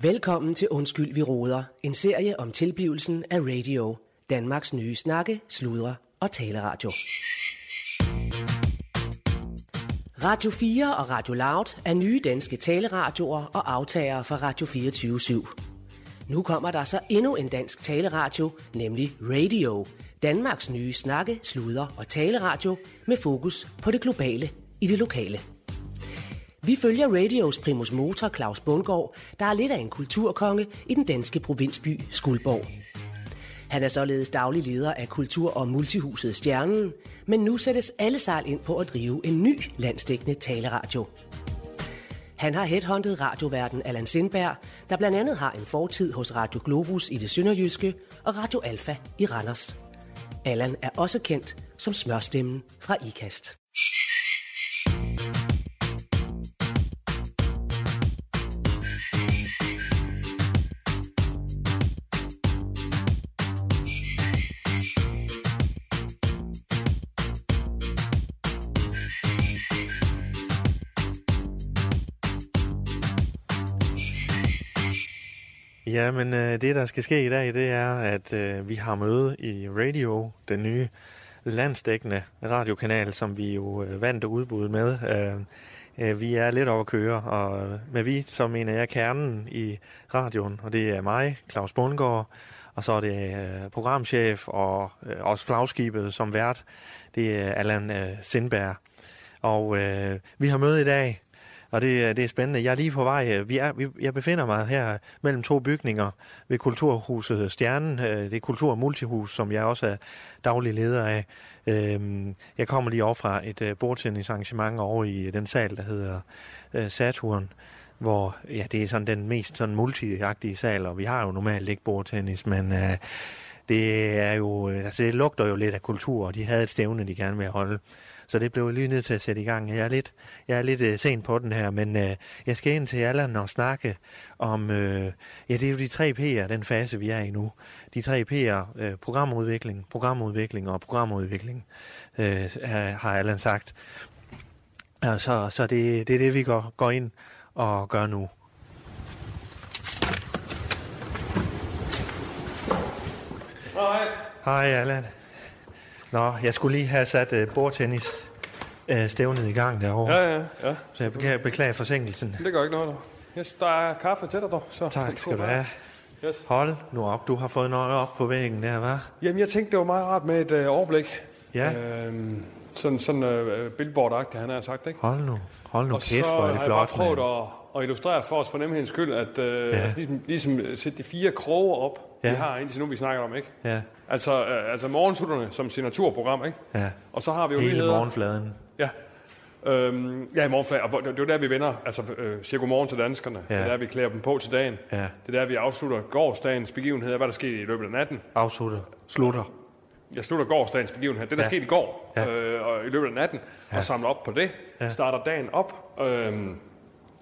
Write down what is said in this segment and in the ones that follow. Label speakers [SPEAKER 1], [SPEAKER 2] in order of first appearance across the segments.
[SPEAKER 1] Velkommen til Undskyld, vi råder. En serie om tilblivelsen af radio. Danmarks nye snakke, sludre og taleradio. Radio 4 og Radio Loud er nye danske taleradioer og aftagere fra Radio 24 /7. Nu kommer der så endnu en dansk taleradio, nemlig Radio. Danmarks nye snakke, sluder og taleradio med fokus på det globale i det lokale. Vi følger radios primus motor Claus Bundgaard, der er lidt af en kulturkonge i den danske provinsby Skuldborg. Han er således daglig leder af Kultur- og Multihuset Stjernen, men nu sættes alle sejl ind på at drive en ny landsdækkende taleradio. Han har headhunted radioverden Allan Sindberg, der blandt andet har en fortid hos Radio Globus i det sønderjyske og Radio Alfa i Randers. Allan er også kendt som smørstemmen fra IKAST.
[SPEAKER 2] Ja, men øh, det, der skal ske i dag, det er, at øh, vi har møde i Radio, den nye landsdækkende radiokanal, som vi jo øh, vandt udbuddet med. Øh, øh, vi er lidt over at køre, og øh, med vi, så mener jeg kernen i radioen, og det er mig, Claus Bundgaard, og så er det øh, programchef og øh, også flagskibet som vært, det er Allan øh, Sindberg. Og øh, vi har møde i dag, og det, er- det er spændende. Jeg er lige på vej. øh, Vi er, vi, jeg befinder mig her mellem to bygninger ved Kulturhuset Stjernen. Øh, Det er Kultur- og Multihus, som jeg også er daglig leder af. Øhm, Jeg kommer lige over fra et øh, bordtennisarrangement over i den sal, der hedder øh, Saturn, hvor ja, det er sådan den mest sådan multiagtige sal, og vi har jo normalt ikke bordtennis, men øh, det er jo, øh, altså det lugter jo lidt af kultur, og de havde et stævne, de gerne ville holde. Så det blev jeg lige nødt til at sætte i gang. Jeg er lidt, jeg er lidt øh, sent på den her, men øh, jeg skal ind til Allan og snakke om, øh, ja, det er jo de tre P'er, den fase, vi er i nu. De tre P'er, øh, programudvikling, programudvikling og programudvikling, øh, er- har Allan sagt. Og så, så det, det er det, vi går, går ind og gør nu.
[SPEAKER 3] Hej.
[SPEAKER 2] Hej Allan. Nå, jeg skulle lige have sat øh, bordtennis øh, stævnet i gang derovre,
[SPEAKER 3] Ja,
[SPEAKER 2] ja.
[SPEAKER 3] ja, ja.
[SPEAKER 2] så jeg beklager, beklager forsinkelsen.
[SPEAKER 3] Det gør ikke noget, dog. Yes, der er kaffe til dig, dog. Så
[SPEAKER 2] Tak skal du have.
[SPEAKER 3] Yes.
[SPEAKER 2] Hold nu op, du har fået noget op på væggen der, hva'?
[SPEAKER 3] Jamen, jeg tænkte, det var meget rart med et øh, overblik.
[SPEAKER 2] Ja.
[SPEAKER 3] Øhm, sådan sådan øh, billboard han har sagt, ikke?
[SPEAKER 2] Hold nu, hold nu
[SPEAKER 3] Og
[SPEAKER 2] kæft,
[SPEAKER 3] så
[SPEAKER 2] hvor er det
[SPEAKER 3] har jeg bare
[SPEAKER 2] flot,
[SPEAKER 3] prøvet
[SPEAKER 2] mand.
[SPEAKER 3] at, at illustrere for os for nemhedens skyld, at øh,
[SPEAKER 2] Ja.
[SPEAKER 3] ja. altså, ligesom, ligesom øh, sætte de fire kroge op,
[SPEAKER 2] Ja.
[SPEAKER 3] vi har indtil nu, vi snakker om, ikke?
[SPEAKER 2] Ja,
[SPEAKER 3] Altså, øh, altså morgensutterne som signaturprogram, ikke?
[SPEAKER 2] ja.
[SPEAKER 3] Og så har vi jo
[SPEAKER 2] Hele
[SPEAKER 3] nyheder.
[SPEAKER 2] morgenfladen.
[SPEAKER 3] Ja. Øhm, ja, i morgenflag. Og hvor- det det er jo der, vi vender. Altså, øh, siger godmorgen til danskerne.
[SPEAKER 2] Ja.
[SPEAKER 3] Ja. Det er der, vi klæder dem på til dagen.
[SPEAKER 2] Ja.
[SPEAKER 3] Det er der, vi afslutter gårsdagens begivenheder. Hvad der skete i løbet af natten.
[SPEAKER 2] Afslutter. Slutter.
[SPEAKER 3] Jeg slutter gårsdagens begivenhed. Det, der
[SPEAKER 2] Ja.
[SPEAKER 3] ja. skete i går
[SPEAKER 2] Ja.
[SPEAKER 3] ja. øh, og i løbet af natten. Ja. Og samler op på det.
[SPEAKER 2] Ja.
[SPEAKER 3] Ja. Starter dagen op. Øhm,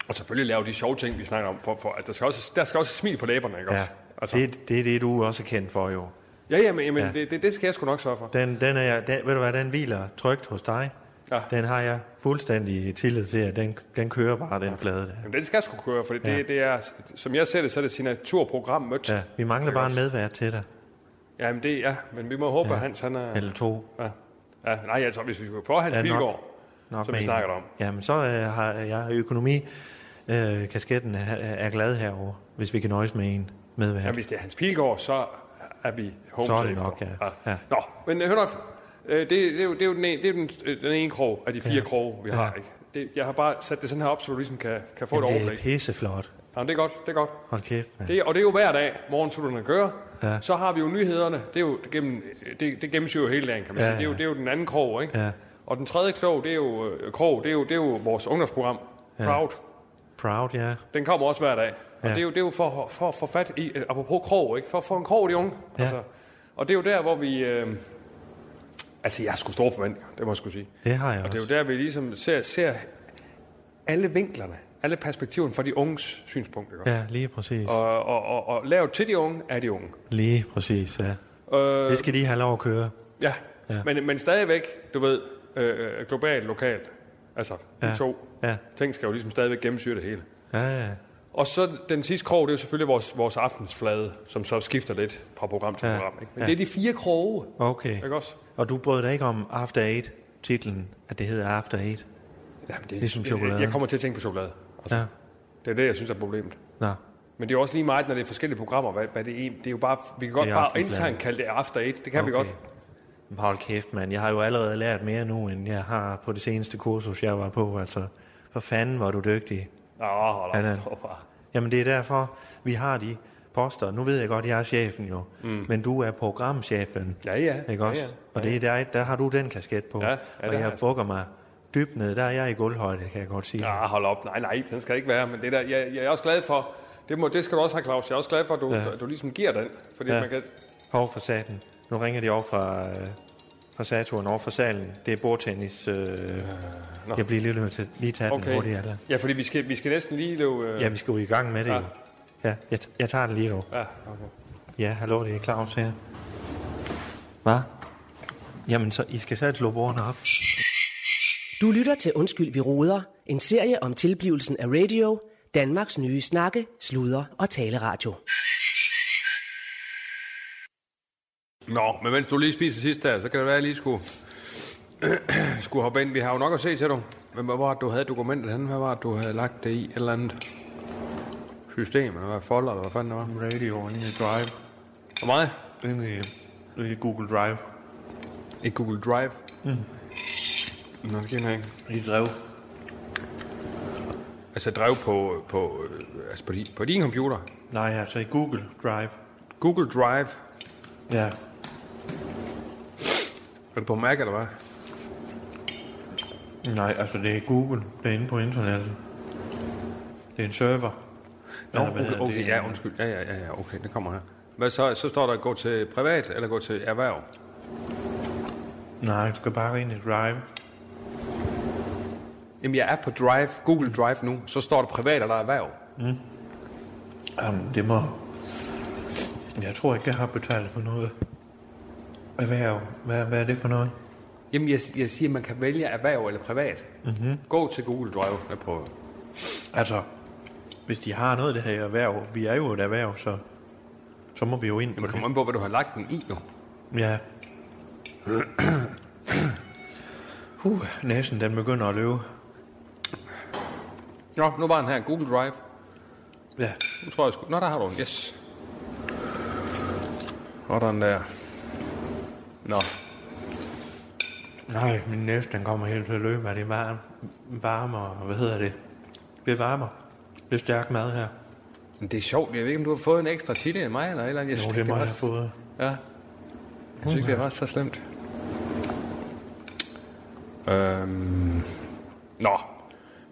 [SPEAKER 3] og selvfølgelig laver de sjove ting, vi snakker om. For, for, altså, der, skal også, der skal også smil på læberne, ikke
[SPEAKER 2] Ja,
[SPEAKER 3] også? Altså,
[SPEAKER 2] det, det er det, du også er kendt for, jo.
[SPEAKER 3] ja, jamen, jamen,
[SPEAKER 2] Ja.
[SPEAKER 3] ja. Det, det, det skal jeg sgu nok sørge for.
[SPEAKER 2] Den, den er jeg, den, ved du hvad, den hviler trygt hos dig.
[SPEAKER 3] Ja.
[SPEAKER 2] Den har jeg fuldstændig tillid til, at den, den kører bare, den flade der.
[SPEAKER 3] Jamen, den skal sgu køre, for det,
[SPEAKER 2] Ja.
[SPEAKER 3] ja. det, det er, som jeg ser det, så er det signaturprogram mødt.
[SPEAKER 2] Ja, vi mangler
[SPEAKER 3] Ikke
[SPEAKER 2] bare en
[SPEAKER 3] også?
[SPEAKER 2] medvært til dig.
[SPEAKER 3] Jamen det, ja, men vi må håbe,
[SPEAKER 2] Ja.
[SPEAKER 3] ja. at Hans han er...
[SPEAKER 2] Eller to.
[SPEAKER 3] Ja. ja. Nej, altså hvis vi skulle få Hans
[SPEAKER 2] Ja,
[SPEAKER 3] ja,
[SPEAKER 2] nok.
[SPEAKER 3] Pilgaard,
[SPEAKER 2] Nok
[SPEAKER 3] Som vi
[SPEAKER 2] med en.
[SPEAKER 3] snakkede om.
[SPEAKER 2] Jamen, så øh, har jeg økonomi. Øh, kasketten er, er glad herover, hvis vi kan nøjes med en medvært.
[SPEAKER 3] ja, hvis det er Hans Pilgaard, så er vi home
[SPEAKER 2] Så er
[SPEAKER 3] safe,
[SPEAKER 2] det nok,
[SPEAKER 3] dog.
[SPEAKER 2] ja. Ja.
[SPEAKER 3] Nå, men øh, hør nu efter. Øh, det, det, er jo- det er jo den ene, det er den, øh, den ene krog af de fire
[SPEAKER 2] Ja.
[SPEAKER 3] ja. kroge, vi har.
[SPEAKER 2] Ja.
[SPEAKER 3] Ikke? Det, jeg har bare sat det sådan her op, så du ligesom kan, kan få et
[SPEAKER 2] Jamen, det er
[SPEAKER 3] overblik.
[SPEAKER 2] pisseflot.
[SPEAKER 3] Nå, men det er godt, det er godt.
[SPEAKER 2] Hold kæft, mand.
[SPEAKER 3] Det, og det er jo hver dag, morgensutterne kører.
[SPEAKER 2] Ja.
[SPEAKER 3] Ja. Så har vi jo nyhederne. Det, er jo, det, gennem, det, det gennemsyrer jo hele dagen, kan man
[SPEAKER 2] Ja,
[SPEAKER 3] ja, sige. Det er, jo,
[SPEAKER 2] ja.
[SPEAKER 3] det er jo den anden krog, ikke?
[SPEAKER 2] Ja.
[SPEAKER 3] Og den tredje krog, det er jo, øh, krog, det er jo, det er jo vores ungdomsprogram,
[SPEAKER 2] Ja.
[SPEAKER 3] Proud.
[SPEAKER 2] Proud, ja.
[SPEAKER 3] Den kommer også hver dag. Og
[SPEAKER 2] Ja.
[SPEAKER 3] ja. det, er jo, det er jo for, for at få fat i, øh, apropos krog, ikke? for at få en krog i de unge. Altså,
[SPEAKER 2] Ja.
[SPEAKER 3] og det er jo der, hvor vi... Øh, altså, jeg har sgu store forventninger, det må jeg skulle sige.
[SPEAKER 2] Det har jeg
[SPEAKER 3] Og det er jo
[SPEAKER 2] også.
[SPEAKER 3] der, vi ligesom ser, ser alle vinklerne, alle perspektiverne fra de unges synspunkt. Ikke?
[SPEAKER 2] Ja, lige præcis.
[SPEAKER 3] Og, og, og, og lavet til de unge, er de unge.
[SPEAKER 2] Lige præcis, ja.
[SPEAKER 3] Øh,
[SPEAKER 2] Det skal de have lov at køre.
[SPEAKER 3] ja.
[SPEAKER 2] Ja.
[SPEAKER 3] ja. Men, men stadigvæk, du ved, øh, globalt, lokalt, altså de
[SPEAKER 2] Ja.
[SPEAKER 3] to
[SPEAKER 2] Ja,
[SPEAKER 3] ting skal jo ligesom stadigvæk gennemsyre det hele.
[SPEAKER 2] ja, ja.
[SPEAKER 3] Og så den sidste krog, det er jo selvfølgelig vores, vores aftensflade, som så skifter lidt fra program til
[SPEAKER 2] Ja.
[SPEAKER 3] program. Ikke? Men
[SPEAKER 2] Ja.
[SPEAKER 3] det er de fire kroge,
[SPEAKER 2] Okay.
[SPEAKER 3] ikke også?
[SPEAKER 2] Og du brød dig ikke om After Eight, titlen, at det hedder After Eight?
[SPEAKER 3] Jamen, det,
[SPEAKER 2] Ligesom
[SPEAKER 3] jeg,
[SPEAKER 2] chokolade.
[SPEAKER 3] jeg kommer til at tænke på chokolade. Altså,
[SPEAKER 2] Ja.
[SPEAKER 3] ja. Det er det, jeg synes er problemet.
[SPEAKER 2] Nå.
[SPEAKER 3] Men det er jo også lige meget, når det er forskellige programmer. Hvad, hvad det, er, det er jo bare, vi kan godt
[SPEAKER 2] Det er
[SPEAKER 3] bare
[SPEAKER 2] aftenfladen.
[SPEAKER 3] internt kalde det After Eight. Det kan okay. vi
[SPEAKER 2] Okay.
[SPEAKER 3] godt.
[SPEAKER 2] Men Hold kæft, mand. Jeg har jo allerede lært mere nu, end jeg har på det seneste kursus, jeg var på. Altså, for fanden var du dygtig.
[SPEAKER 3] Nå, hold op.
[SPEAKER 2] Han er-
[SPEAKER 3] tror bare.
[SPEAKER 2] Jamen, det er derfor, vi har de poster. Nu ved jeg godt, jeg er chefen jo. Mm. Men du er programchefen.
[SPEAKER 3] Ja, ja.
[SPEAKER 2] Ikke også?
[SPEAKER 3] Ja, ja.
[SPEAKER 2] Og det er der, der har du den kasket på.
[SPEAKER 3] Ja, ja, det
[SPEAKER 2] og
[SPEAKER 3] har
[SPEAKER 2] jeg
[SPEAKER 3] jeg.
[SPEAKER 2] bukker mig dybt ned. Der er jeg i gulvhøjde, kan jeg godt sige.
[SPEAKER 3] Ja, hold op. Nej, nej, den skal ikke være. Men det der, jeg, jeg er også glad for, det, må, det skal du også have, Claus. Jeg er også glad for, at du,
[SPEAKER 2] Ja.
[SPEAKER 3] ja. du ligesom giver den. Fordi
[SPEAKER 2] Ja.
[SPEAKER 3] ja. man kan,
[SPEAKER 2] Hov for saten. Nu ringer de over fra, øh, fra Saturn over fra salen. Det er bordtennis. Øh,
[SPEAKER 3] nå.
[SPEAKER 2] jeg bliver lige nødt til at lige tage okay. den hurtigt.
[SPEAKER 3] okay.
[SPEAKER 2] Allan.
[SPEAKER 3] Ja, fordi vi skal, vi skal næsten lige løbe... Øh,
[SPEAKER 2] Ja, vi skal jo i gang med det
[SPEAKER 3] Ja.
[SPEAKER 2] jo. Ja, jeg, jeg tager den lige nu.
[SPEAKER 3] ja, okay.
[SPEAKER 2] Ja, hallo, det er Claus her. Hvad? Jamen, så I skal selv slå bordene op.
[SPEAKER 1] Du lytter til Undskyld, vi roder, en serie om tilblivelsen af radio, Danmarks nye snakke, sludre og taleradio.
[SPEAKER 3] Nå, men mens du lige spiser sidst der, så kan det være, at jeg lige skulle, skulle hoppe ind. Vi har jo nok at se til dig. Men hvor var det, du havde dokumentet henne? Hvad var det, du havde lagt det i? Et eller andet system, eller hvad? Folder, eller hvad fanden det var?
[SPEAKER 2] Radio inde i Drive.
[SPEAKER 3] Hvor meget?
[SPEAKER 2] Inde i, i Google Drive.
[SPEAKER 3] I Google Drive. Mm. Nå, det kender jeg ikke.
[SPEAKER 2] I Drive.
[SPEAKER 3] Altså drev på, på, øh, altså på, din, på din computer.
[SPEAKER 2] Nej, altså i Google Drive.
[SPEAKER 3] Google Drive.
[SPEAKER 2] Ja.
[SPEAKER 3] Er det på Mac, eller hvad?
[SPEAKER 2] Nej, altså det er Google. Det er inde på internettet. Det er en server.
[SPEAKER 3] Nå,
[SPEAKER 2] Eller hvad
[SPEAKER 3] okay,
[SPEAKER 2] hedder
[SPEAKER 3] okay,
[SPEAKER 2] det?
[SPEAKER 3] ja, undskyld. Ja, ja, ja, ja, okay, det kommer her. Hvad så? Så står der, gå til privat, eller gå til erhverv.
[SPEAKER 2] Nej, du skal bare ind i Drive.
[SPEAKER 3] Jamen, jeg er på Drive, Google Drive nu, så står der privat eller erhverv.
[SPEAKER 2] Jamen, det må... Jeg tror ikke, jeg har betalt for noget. Erhverv. Hvad, hvad er det for noget?
[SPEAKER 3] Jamen, jeg, jeg siger, man kan vælge erhverv eller privat. Mm-hmm.
[SPEAKER 2] Mhm.
[SPEAKER 3] Gå til Google Drive. Jeg prøver.
[SPEAKER 2] Altså, hvis de har noget af det her erhverv, vi er jo et erhverv, så, så må vi jo ind på
[SPEAKER 3] Jamen,
[SPEAKER 2] det.
[SPEAKER 3] kom an på, hvad du har lagt den i, jo.
[SPEAKER 2] Ja. Uh, næsen, den begynder at løbe.
[SPEAKER 3] Nå, nu var den her, Google Drive.
[SPEAKER 2] Ja.
[SPEAKER 3] Nu tror jeg sgu... Nå, der har du den, yes. Og der er den der. Nå,
[SPEAKER 2] Nej, min næse, den kommer helt til at løbe, er det varm, varmere, hvad hedder det? Det er varmere. Det er stærk mad her.
[SPEAKER 3] men det er sjovt. Jeg ved ikke, om du har fået en ekstra titel end mig, eller et eller andet. Jeg
[SPEAKER 2] Jo,
[SPEAKER 3] synes
[SPEAKER 2] det
[SPEAKER 3] ikke,
[SPEAKER 2] må jeg have
[SPEAKER 3] var-
[SPEAKER 2] fået.
[SPEAKER 3] Ja. Jeg synes ikke, det var så slemt. Øhm. Nå.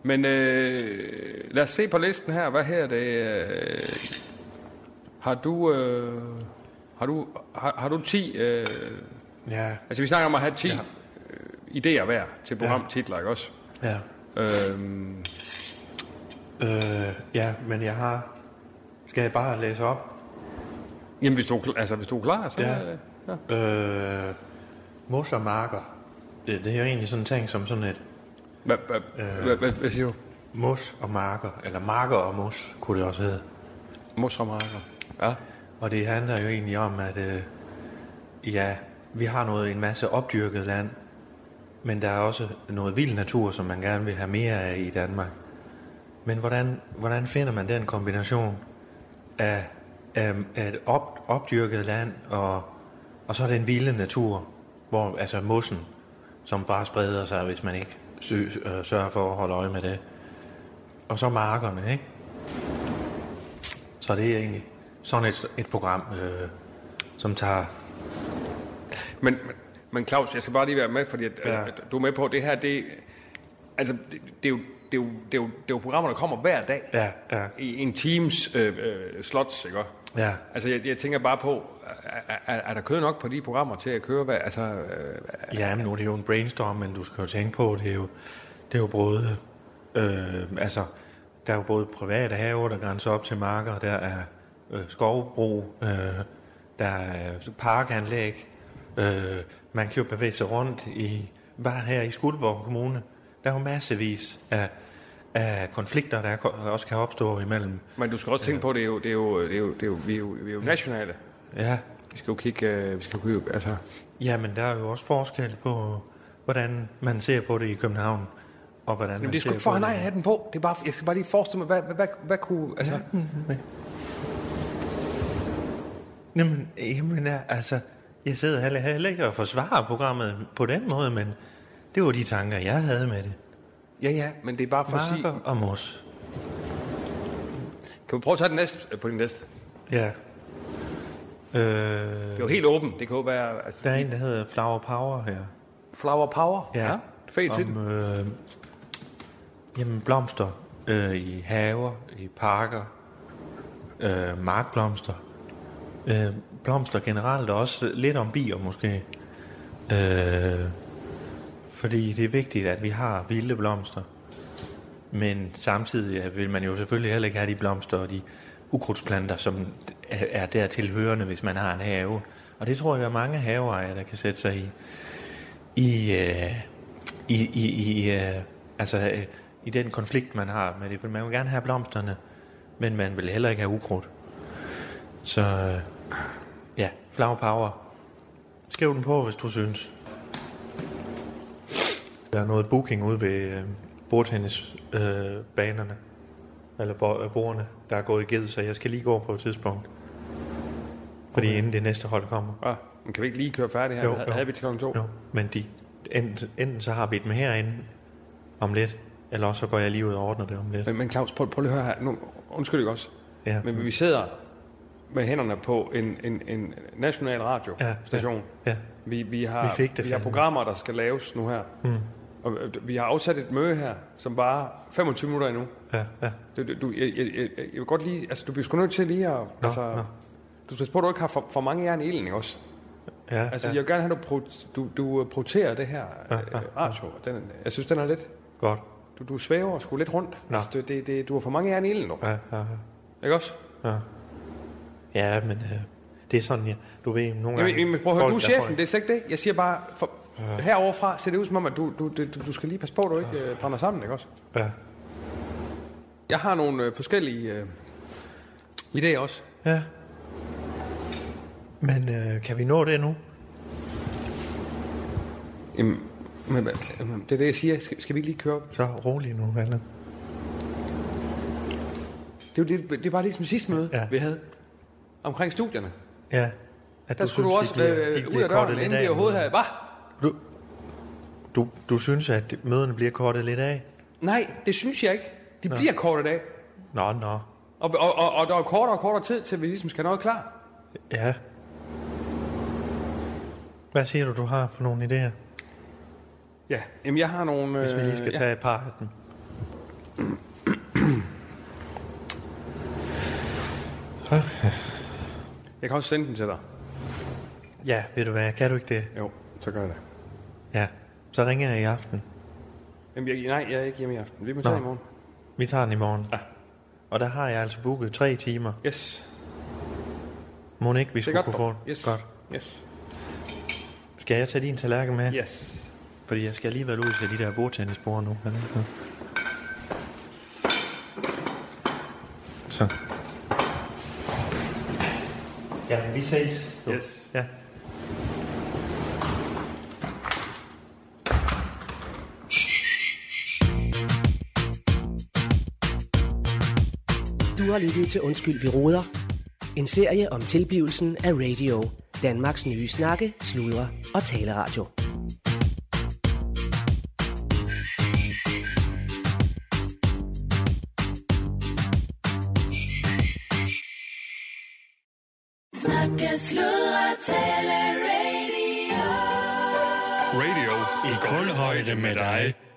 [SPEAKER 3] Men øh, lad os se på listen her. Hvad her det? Øh, har du... Øh, har du, har, har du 10... Øh,
[SPEAKER 2] Ja,
[SPEAKER 3] altså, vi snakker om at have 10 ja. idéer hver til programtitler, ikke også?
[SPEAKER 2] ja.
[SPEAKER 3] Øhm,
[SPEAKER 2] Øh, ja, men jeg har... Skal jeg bare læse op?
[SPEAKER 3] jamen, hvis du, er kl- altså, hvis du er klar, så...
[SPEAKER 2] Ja.
[SPEAKER 3] er det- Ja.
[SPEAKER 2] Øh, mos og marker. Det, det er jo egentlig sådan en ting som sådan et
[SPEAKER 3] Hvad hva, hva, hva, hvad siger du?
[SPEAKER 2] mos og marker, eller marker og mos, kunne det også hedde.
[SPEAKER 3] Motormarker. Ja.
[SPEAKER 2] Og det handler jo egentlig om, at øh, ja, vi har noget en masse opdyrket land, men der er også noget vild natur, som man gerne vil have mere af i Danmark. Men hvordan, hvordan finder man den kombination af, af, af et op, opdyrket land og, og så den vilde natur, hvor altså mossen, som bare spreder sig, hvis man ikke sø, øh, sørger for at holde øje med det. Og så markerne, ikke? Så det er egentlig sådan et, et program, øh, som tager...
[SPEAKER 3] Men, men- men Claus, jeg skal bare lige være med, fordi at,
[SPEAKER 2] Ja.
[SPEAKER 3] ja. du er med på, at det her, det, altså, det, det, er jo, det, er jo, det, er jo, det er jo programmer, der kommer hver dag
[SPEAKER 2] Ja, ja,
[SPEAKER 3] i en teams øh, øh, slots, ikke?
[SPEAKER 2] ja.
[SPEAKER 3] Altså, jeg, jeg tænker bare på, er, er, er der kød nok på de programmer til at køre? Hvad, altså, øh,
[SPEAKER 2] Ja, men nu er det jo en brainstorm, men du skal jo tænke på, det er jo, det er jo både... Øh, altså, der er jo både private haver, der grænser op til marker, der er øh, skovbrug, øh, der er parkanlæg. Øh, man kan jo bevæge sig rundt i... Bare her i Skuldborg Kommune, der er jo massevis af af konflikter, der ko- også kan opstå imellem.
[SPEAKER 3] Men du skal også tænke på, det er jo, det er jo, det er jo, det er jo, vi, er jo vi er jo nationale.
[SPEAKER 2] Ja,
[SPEAKER 3] Vi skal jo kigge, øh, vi skal jo kigge, altså...
[SPEAKER 2] jamen der er jo også forskel på, hvordan man ser på det i København, og hvordan
[SPEAKER 3] Jamen,
[SPEAKER 2] man
[SPEAKER 3] det er sgu
[SPEAKER 2] ser
[SPEAKER 3] ikke for, at
[SPEAKER 2] på
[SPEAKER 3] han har hatten på. Det er bare, jeg skal bare lige forestille mig, hvad, hvad, hvad, hvad kunne... Altså,
[SPEAKER 2] Jamen, jamen ja, altså, jeg sidder heller, heller ikke og forsvarer programmet på den måde, men det var de tanker, jeg havde med det.
[SPEAKER 3] ja, ja, men det er bare for at sige...
[SPEAKER 2] Marker og mos.
[SPEAKER 3] Kan vi prøve at tage den næste, øh, på din næste?
[SPEAKER 2] Ja. Øh,
[SPEAKER 3] Det er jo helt åbent. Det kan jo være altså,
[SPEAKER 2] der er en, der hedder Flower Power her.
[SPEAKER 3] flower power.
[SPEAKER 2] Ja.
[SPEAKER 3] Fed til den.
[SPEAKER 2] Om, øh, jamen, blomster øh, i haver, i parker, øh, markblomster. Øh, blomster generelt, og også lidt om bier måske. Øh, fordi det er vigtigt, at vi har vilde blomster. Men samtidig øh, vil man jo selvfølgelig heller ikke have de blomster og de ukrudtsplanter, som er er dertil hørende, hvis man har en have. Og det tror jeg, der er mange haveejere, der kan sætte sig i i, øh, i, i, i øh, altså, øh, i den konflikt, man har med det. For man vil gerne have blomsterne, men man vil heller ikke have ukrudt. Så øh, ja, flower power. Skriv den på, hvis du synes. Der er noget booking ude ved øh, bordtennisbanerne. Øh, banerne. eller bo- øh, bordene, der er gået i ged, så jeg skal lige gå på et tidspunkt. Fordi okay. inden det næste hold kommer.
[SPEAKER 3] Ja, Ah, men kan vi ikke lige køre færdig her?
[SPEAKER 2] Jo,
[SPEAKER 3] Jo, jo.
[SPEAKER 2] jo.
[SPEAKER 3] Havde vi til klokken to?
[SPEAKER 2] Jo, men de, enten, enten så har vi dem herinde om lidt, eller også så går jeg lige ud og ordner det om lidt.
[SPEAKER 3] Men, men Claus, prøv, prøv lige at høre her. Nu, undskyld ikke også.
[SPEAKER 2] Ja,
[SPEAKER 3] Men vi sidder med hænderne på en, en, en national radiostation. Ja,
[SPEAKER 2] ja,
[SPEAKER 3] Vi, vi, har,
[SPEAKER 2] Vi fik det
[SPEAKER 3] vi har
[SPEAKER 2] fandme.
[SPEAKER 3] programmer, der skal laves nu her. Mm. Og øh, vi har afsat et møde her, som bare 25 minutter endnu.
[SPEAKER 2] ja, ja.
[SPEAKER 3] Du, du- du, jeg, jeg, jeg, jeg vil godt lige... Altså, du bliver sgu nødt til lige at...
[SPEAKER 2] Nå,
[SPEAKER 3] altså,
[SPEAKER 2] nå.
[SPEAKER 3] Du skal passe på, at du ikke har for, for mange jern i ilden, ikke også?
[SPEAKER 2] ja,
[SPEAKER 3] Altså,
[SPEAKER 2] ja.
[SPEAKER 3] jeg vil gerne have, at du, pro, du, du øh, proterer det her
[SPEAKER 2] Ja,
[SPEAKER 3] øh,
[SPEAKER 2] ja,
[SPEAKER 3] radio. Den, jeg synes, den er lidt...
[SPEAKER 2] Godt.
[SPEAKER 3] Du, du svæver sgu lidt rundt.
[SPEAKER 2] Nå.
[SPEAKER 3] Altså, det, det, det, du har for mange jern i ilden nu.
[SPEAKER 2] Ja, ja, ja.
[SPEAKER 3] Ikke også?
[SPEAKER 2] ja. ja men øh, det er sådan, ja. du ved, nogle gange...
[SPEAKER 3] Jamen, jamen, prøv at høre, du er
[SPEAKER 2] folk, der
[SPEAKER 3] chefen,
[SPEAKER 2] får-
[SPEAKER 3] det er slet ikke det. Jeg siger bare, for, heroverfra ser det ud som om, at du, du, du, du skal lige passe på, at du ikke øh, brænder sammen, ikke også?
[SPEAKER 2] Ja,
[SPEAKER 3] Jeg har nogle øh, forskellige øh, idéer også.
[SPEAKER 2] ja. Men øh, kan vi nå det nu?
[SPEAKER 3] Jamen, men, men, men, det er det, jeg siger. Skal, skal vi ikke lige køre
[SPEAKER 2] Så rolig nu, Allan.
[SPEAKER 3] Det er, jo det, det er bare ligesom sidste møde, ja.
[SPEAKER 2] Ja.
[SPEAKER 3] vi havde omkring studierne.
[SPEAKER 2] Ja. At
[SPEAKER 3] Der skulle du
[SPEAKER 2] synes,
[SPEAKER 3] også
[SPEAKER 2] de bliver- de
[SPEAKER 3] øh, ud
[SPEAKER 2] bliver
[SPEAKER 3] af
[SPEAKER 2] kortet
[SPEAKER 3] døren,
[SPEAKER 2] lidt
[SPEAKER 3] inden vi
[SPEAKER 2] af nu.
[SPEAKER 3] overhovedet havde... Hvad?
[SPEAKER 2] Du, du, du synes, at møderne bliver kortet lidt af?
[SPEAKER 3] Nej, det synes jeg ikke. De bliver kortet af.
[SPEAKER 2] Nå, nå.
[SPEAKER 3] Og, og, og, og der er kortere og kortere tid, til vi ligesom skal have noget klar.
[SPEAKER 2] Ja. Hvad siger du, du har for nogle idéer?
[SPEAKER 3] Ja, jamen jeg har nogle... øh,
[SPEAKER 2] Hvis vi lige skal
[SPEAKER 3] ja.
[SPEAKER 2] tage et par af dem.
[SPEAKER 3] Jeg kan også sende den til dig.
[SPEAKER 2] Ja, ved du hvad, kan du ikke det?
[SPEAKER 3] Jo, så gør jeg det.
[SPEAKER 2] Ja, så ringer jeg i aften.
[SPEAKER 3] Jamen, jeg, nej, jeg er ikke hjemme i aften. Vi må tage
[SPEAKER 2] Nå.
[SPEAKER 3] i morgen.
[SPEAKER 2] Vi tager den i morgen.
[SPEAKER 3] Ja.
[SPEAKER 2] Og der har jeg altså booket tre timer.
[SPEAKER 3] Yes,
[SPEAKER 2] Må ikke, vi
[SPEAKER 3] det er
[SPEAKER 2] skulle
[SPEAKER 3] godt.
[SPEAKER 2] kunne få
[SPEAKER 3] dog.
[SPEAKER 2] den?
[SPEAKER 3] Yes.
[SPEAKER 2] Godt.
[SPEAKER 3] Yes.
[SPEAKER 2] Skal jeg tage din tallerken med?
[SPEAKER 3] Yes.
[SPEAKER 2] Fordi jeg skal alligevel ud til de der bordtennisbord nu. Kan jeg ikke? Så. Ja, vi ses. Du.
[SPEAKER 3] Yes.
[SPEAKER 2] Ja.
[SPEAKER 1] Du har lyttet til Undskyld, vi råder. En serie om tilblivelsen af radio. Danmarks nye snakke, sludre og taleradio.
[SPEAKER 4] Snakke, sludre, tale, radio.
[SPEAKER 5] Radio i kulhøjde med dig.